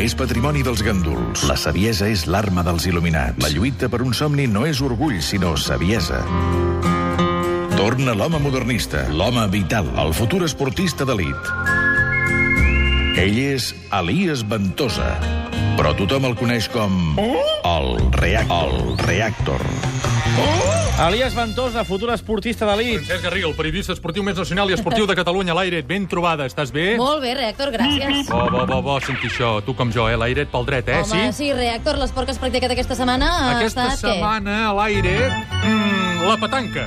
és patrimoni dels ganduls. La saviesa és l'arma dels il·luminats. La lluita per un somni no és orgull, sinó saviesa. Torna l'home modernista, l'home vital, el futur esportista d'elit. Ell és Elias Ventosa, però tothom el coneix com... El, reac el Reactor. Elias Ventosa, futur esportista d'elit. Francesc Garriga, el periodista esportiu més nacional i esportiu de Catalunya, l'Airet, ben trobada, estàs bé? Molt bé, Reactor, gràcies. Bo, bo, bo, bo, sentir això. Tu com jo, eh? L'Airet pel dret, eh? Home, sí, Reactor, l'esport que has practicat aquesta setmana ha Aquesta estat... què? setmana, a l'Airet, mm, la petanca.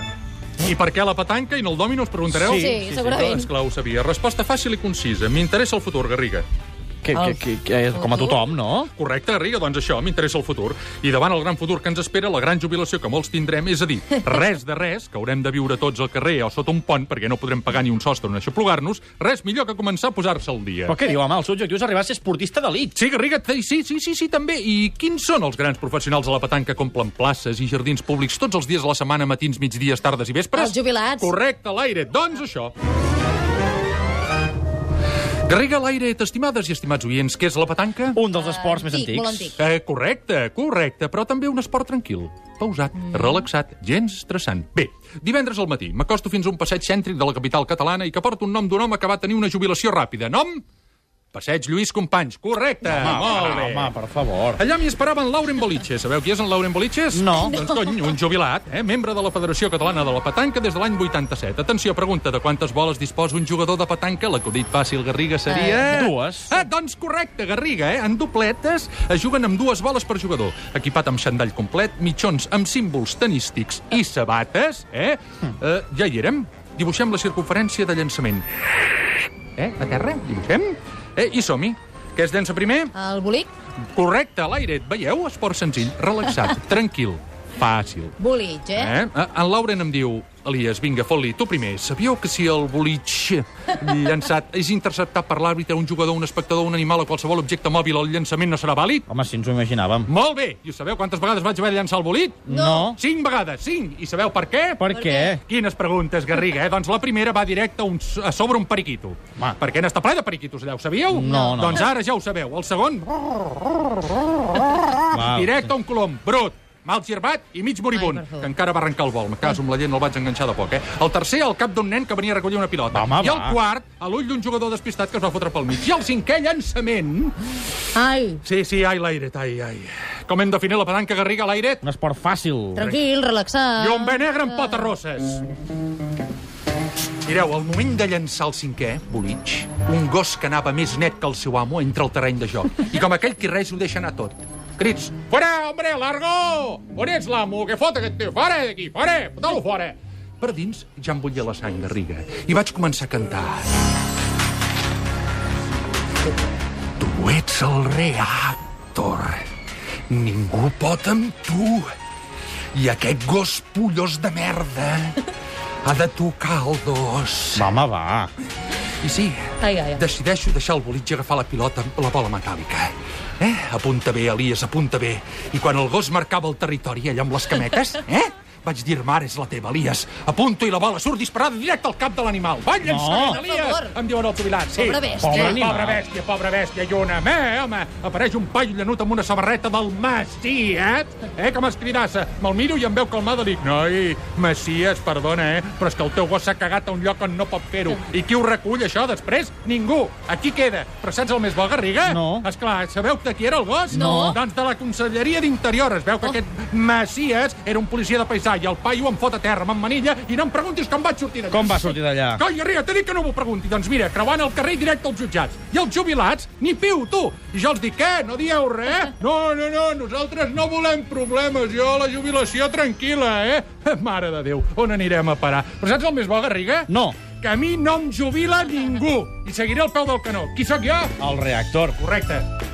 I per què la petanca i no el domino, us preguntareu? Sí, sí, segurament. Esclar, ho sabia. Resposta fàcil i concisa. M'interessa el futur, Garriga. Que, que, que, que, com a tothom, no? Correcte, Garriga, doncs això, m'interessa el futur. I davant el gran futur que ens espera, la gran jubilació que molts tindrem, és a dir, res de res, que haurem de viure tots al carrer o sota un pont perquè no podrem pagar ni un sostre on aixoplugar-nos, res millor que començar a posar-se al dia. Però què diu, home? El seu objectiu és arribar a ser esportista d'elit. Sí, Garriga, t- sí, sí, sí, sí, també. I quins són els grans professionals de la petanca que omplen places i jardins públics tots els dies de la setmana, matins, migdies, tardes i vespres? Els jubilats. Correcte, l'aire. Doncs això. Garriga, l'aire, estimades i estimats oients, què és la petanca? Un dels esports més Ah, Antic, antics. molt antic. Eh, correcte, correcte, però també un esport tranquil, pausat, mm. relaxat, gens estressant. Bé, divendres al matí m'acosto fins a un passeig cèntric de la capital catalana i que porta un nom d'un home que va tenir una jubilació ràpida. Nom? Passeig Lluís Companys, correcte, molt Ah, bé. Home, per favor. Allà m'hi esperaven Lauren Boliche. Sabeu qui és en Lauren Boliches? No. Doncs cony, un jubilat, eh? membre de la Federació Catalana de la Petanca des de l'any 87. Atenció, pregunta de quantes boles disposa un jugador de petanca? L'acudit fàcil, Garriga, seria... Eh, dues. Ah, doncs correcte, Garriga, eh? En dupletes es juguen amb dues boles per jugador, equipat amb xandall complet, mitjons amb símbols tenístics i sabates, eh? Hm. eh ja hi érem. Dibuixem la circunferència de llançament. Eh? A terra? Dibuixem? Eh? I som-hi. Què es llença primer? El bolic? Correcte, l'aire. Et veieu? Esport senzill, relaxat, tranquil, fàcil. Bolitx, eh? Eh? Eh, En Lauren em diu, Elias, vinga, fot-li, tu primer. Sabíeu que si el bolitx llançat és interceptat per l'àrbitre, un jugador, un espectador, un animal o qualsevol objecte mòbil, el llançament no serà vàlid? Home, si ens ho imaginàvem. Molt bé! I sabeu quantes vegades vaig haver de llançar el bolit? No. Cinc vegades, cinc! I sabeu per què? Per què? Quines preguntes, Garriga, eh? Doncs la primera va directe a, un, a sobre un periquito. Va. Perquè n'està ple de periquitos allà, ho sabíeu? No, no. Doncs ara ja ho sabeu. El segon, Val. directe a un colom, brut, mal girbat i mig moribund, Ai, per favor. que encara va arrencar el vol. Me caso amb la gent, el vaig enganxar de poc, eh? El tercer, al cap d'un nen que venia a recollir una pilota. Home, I el va. quart, a l'ull d'un jugador despistat que es va fotre pel mig. I el cinquè llançament... Ai, Sí, sí, ai, l'airet, ai, ai. Com hem definit la pedanca Garriga, l'airet? Un esport fàcil. tranquil, relaxat. I un bé negre amb potes rosses. Mireu, al moment de llançar el cinquè, Bolitx, un gos que anava més net que el seu amo entra al terreny de joc. I com aquell qui res ho deixa anar tot. Crits, fora, hombre, largo! On ets l'amo? Què fot aquest tio? Fora d'aquí, fora! Fota-lo fora! Per dins ja em bullia la sang, Garriga, i vaig començar a cantar. Tu ets el reactor. Ningú pot amb tu. I aquest gos pollós de merda ha de tocar el dos. Va, home, va. I sí, Ai, ai, ai. decideixo deixar el bolitge agafar la pilota amb la bola metàl·lica. Eh? Apunta bé, Elias, apunta bé. I quan el gos marcava el territori allà amb les cametes, eh? Vaig dir, mare, és la teva, Elias. Apunto i la bola surt disparada directe al cap de l'animal. Vaig llançament, No. Per Elias! favor. Em diuen el jubilat, sí. Pobre bèstia. Pobre, Pobre sí, animal. pobre bèstia, pobra bèstia, i una mà, home. Apareix un paio llanut amb una samarreta del Maciet, eh, com es cridassa. Me'l miro i em veu calmada, dic, noi, Macias, perdona, eh, però és que el teu gos s'ha cagat a un lloc on no pot fer-ho. I qui ho recull, això, després? Ningú. Aquí queda. Però saps el més bo, Garriga? No. Esclar, sabeu de qui era el gos? No. Doncs de la Conselleria d'Interior. Es veu que aquest Macias era un policia de paisà i el paio em fot a terra, m'emmanilla, i no em preguntis com vaig sortir d'allà. Com va sortir d'allà? Coi, Garriga, t'he dit que no m'ho pregunti. Doncs mira, creuant el carrer directe als jutjats. I els jubilats, ni piu, tu! I jo els dic, què, no dieu res? No, no, no, nosaltres no volem problemes. Jo, la jubilació, tranquil·la, eh? Mare de Déu, on anirem a parar? Però saps el més bo, Garriga? No. Que a mi no em jubila ningú. I seguiré al peu del canó. Qui sóc jo? El reactor. Correcte.